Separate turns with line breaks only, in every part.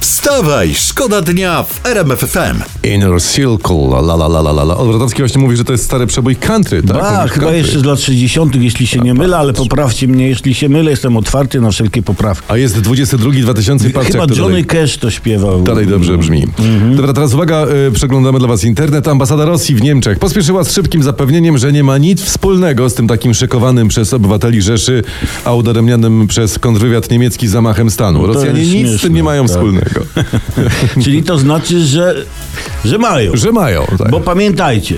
Wstawaj, szkoda dnia w RMF FM.
Inner Circle, la la la la la la, la. Odwrotowski właśnie mówi, że to jest stary przebój country, tak?
A,
Mówisz
chyba
country.
jeszcze z lat 60., jeśli
Tak,
się nie mylę, ale poprawcie mnie, jeśli się mylę, jestem otwarty na wszelkie poprawki.
A jest 22 2000 patrz,
Chyba
jak to
Johnny Mhm.
dalej,
Cash to śpiewał.
dalej dobrze brzmi. Dobra, teraz uwaga, y, przeglądamy dla was internet. Ambasada Rosji w Niemczech pospieszyła z szybkim zapewnieniem, że nie ma nic wspólnego z tym takim szykowanym przez obywateli Rzeszy, a udaremnianym przez kontrwywiad niemiecki zamachem stanu. Rosjanie nic
No jest
z tym nie
śmieszne,
mają
tak.
wspólnego.
Czyli to znaczy, że, że mają.
Że mają, tak.
Bo pamiętajcie,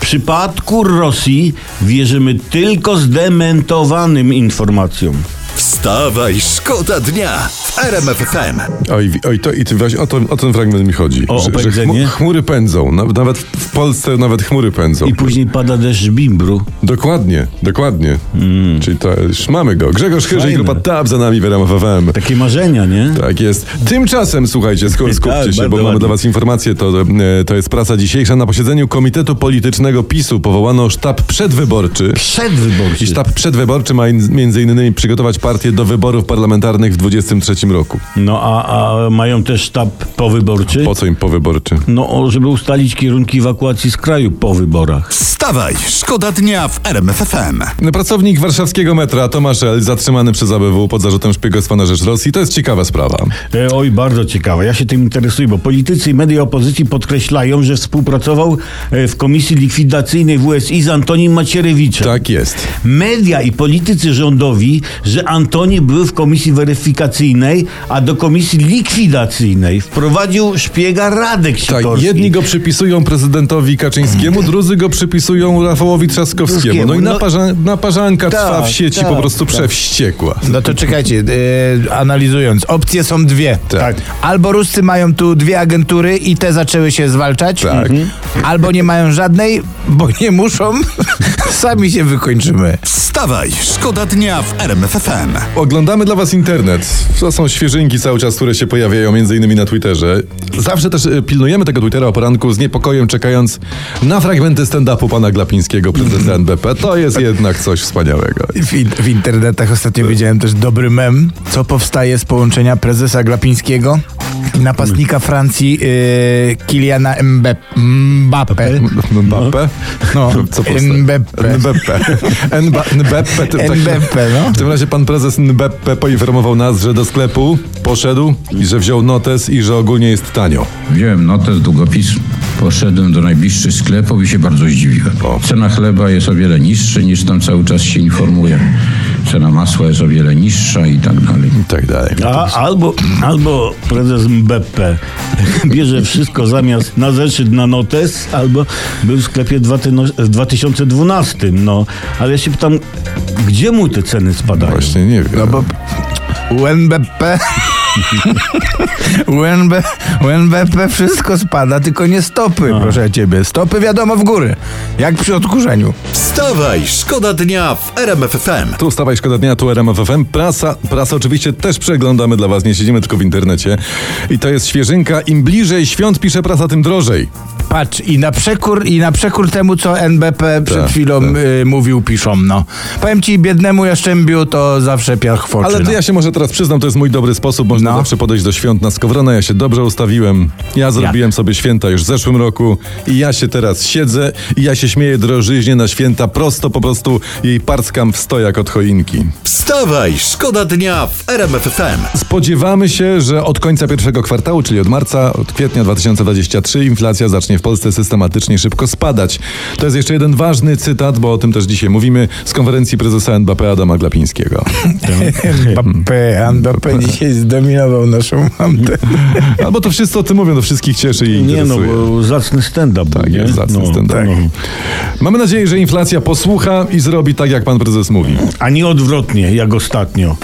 w przypadku Rosji wierzymy tylko zdementowanym informacjom.
Wstawaj, szkoda dnia w RMF FM.
Oj, wi- oj to, i ty, właśnie o, to, o ten fragment mi chodzi.
O, o pędzenie?
chmury pędzą. Naw- Nawet w Polsce nawet chmury pędzą.
I później pada deszcz bimbru.
Dokładnie, dokładnie. Czyli to już mamy go. Grzegorz Chyży i
Mm. Fajne.
grupa TAP za nami w RMF FM.
Takie marzenia, nie?
Tak jest. Tymczasem, słuchajcie, skoro skupcie
Tak,
się, bo
bardzo
mamy
ładnie.
dla was informację, to, e, to jest prasa dzisiejsza. Na posiedzeniu Komitetu Politycznego PiSu powołano sztab przedwyborczy. I
Przedwyborczy.
sztab przedwyborczy ma in- między innymi przygotować partię do wyborów parlamentarnych w 23 roku.
No a, a mają też sztab powyborczy?
Po co im powyborczy?
No, o, żeby ustalić kierunki ewakuacji z kraju po wyborach.
Wstawaj, szkoda dnia w RMF FM.
No, Pracownik warszawskiego metra Tomasz L. zatrzymany przez ABW pod zarzutem szpiegostwa na rzecz Rosji. To jest ciekawa sprawa.
E, Oj, bardzo ciekawe. Ja się tym interesuję, bo politycy i media opozycji podkreślają, że współpracował e, w komisji likwidacyjnej WSI z Antonim Macierewiczem.
Tak jest.
Media i politycy rządowi, że Antoni był w komisji weryfikacyjnej, a do komisji likwidacyjnej wprowadził szpiega Radek
Tak,
Sikorski.
jedni go przypisują prezydentowi Kaczyńskiemu,
Mm.
drudzy go przypisują Rafałowi Trzaskowskiemu. No i
No-
naparza, naparzanka trwa w
Tak,
sieci
tak,
po prostu
tak.
przewściekła.
No to czekajcie, yy, analizując, opcje są dwie.
Tak.
Albo Ruscy mają tu dwie agentury i te zaczęły się zwalczać, Mhm. albo nie mają żadnej, bo nie muszą, sami się wykończymy.
Wstawaj, szkoda dnia w RMF FM.
Oglądamy dla was internet. To są świeżynki cały czas, które się pojawiają między innymi na Twitterze. Zawsze też e, pilnujemy tego Twittera o poranku z niepokojem, czekając na fragmenty stand-upu pana Glapińskiego, prezydenta NBP. To jest jednak coś wspaniałego.
W, in- w internetach ostatnio widziałem też dobry mem, co powstaje z połączenia prezesa Glapińskiego i napastnika Francji yy, Kiliana Mbe- Mbappe.
Mbappe?
No,
Co powstaje?
Mbappe.
NBP. NBP. NBP. to tak-
NBP, no.
W tym razie pan prezes NBP poinformował nas, że do sklepu poszedł i że wziął notes i że ogólnie jest tanio.
Wziąłem notes, no długopis, poszedłem do najbliższych sklepów i się bardzo zdziwiłem. Cena chleba jest o wiele niższa niż tam cały czas się informuje. Cena masła jest o wiele niższa i tak dalej.
I tak dalej.
A, albo, albo prezes MBP bierze wszystko zamiast na zeszyt na notes, albo był w sklepie dwa tyno- w 2012. No, ale ja się pytam, gdzie mu te ceny spadają?
Właśnie nie wiem.
No bo UNBP. UNB, UNBP wszystko spada, tylko nie stopy, proszę ciebie. Stopy wiadomo w góry, jak przy odkurzeniu.
Wstawaj, szkoda dnia w RMF FM.
Tu Wstawa i Szkoda Dnia, tu RMF FM. Prasa, prasa oczywiście też przeglądamy dla was, nie siedzimy tylko w internecie. I to jest świeżynka, im bliżej świąt pisze prasa, tym drożej.
Patrz, i na przekór, i na przekór temu, co NBP przed
Tak,
chwilą Y, mówił, piszą, no. Powiem ci, biednemu Jaszczębiu to zawsze piach w oczy,
Ale
no.
to ja się może teraz przyznam, to jest mój dobry sposób, można
No.
zawsze podejść do świąt na skowronę, ja się dobrze ustawiłem, ja zrobiłem sobie święta już w zeszłym roku i ja się teraz siedzę i ja się śmieję drożyźnie na święta, prosto po prostu jej parckam w stojak od choinki.
Wstawaj, szkoda dnia w RMF FM.
Spodziewamy się, że od końca pierwszego kwartału, czyli od marca, od kwietnia 2023 inflacja zacznie w Polsce systematycznie szybko spadać. To jest jeszcze jeden ważny cytat, bo o tym też dzisiaj mówimy, z konferencji prezesa NBP Adama Glapińskiego.
NBP, NBP dzisiaj zdominował naszą mantę.
Albo to wszyscy o tym mówią, to no wszystkich cieszy i
Nie no,
interesuje.
bo zacny stand-up.
Tak,
nie?
jest zacny
no,
stand-up. Mamy nadzieję, że inflacja posłucha i zrobi tak, jak pan prezes mówi.
A nie odwrotnie, jak ostatnio.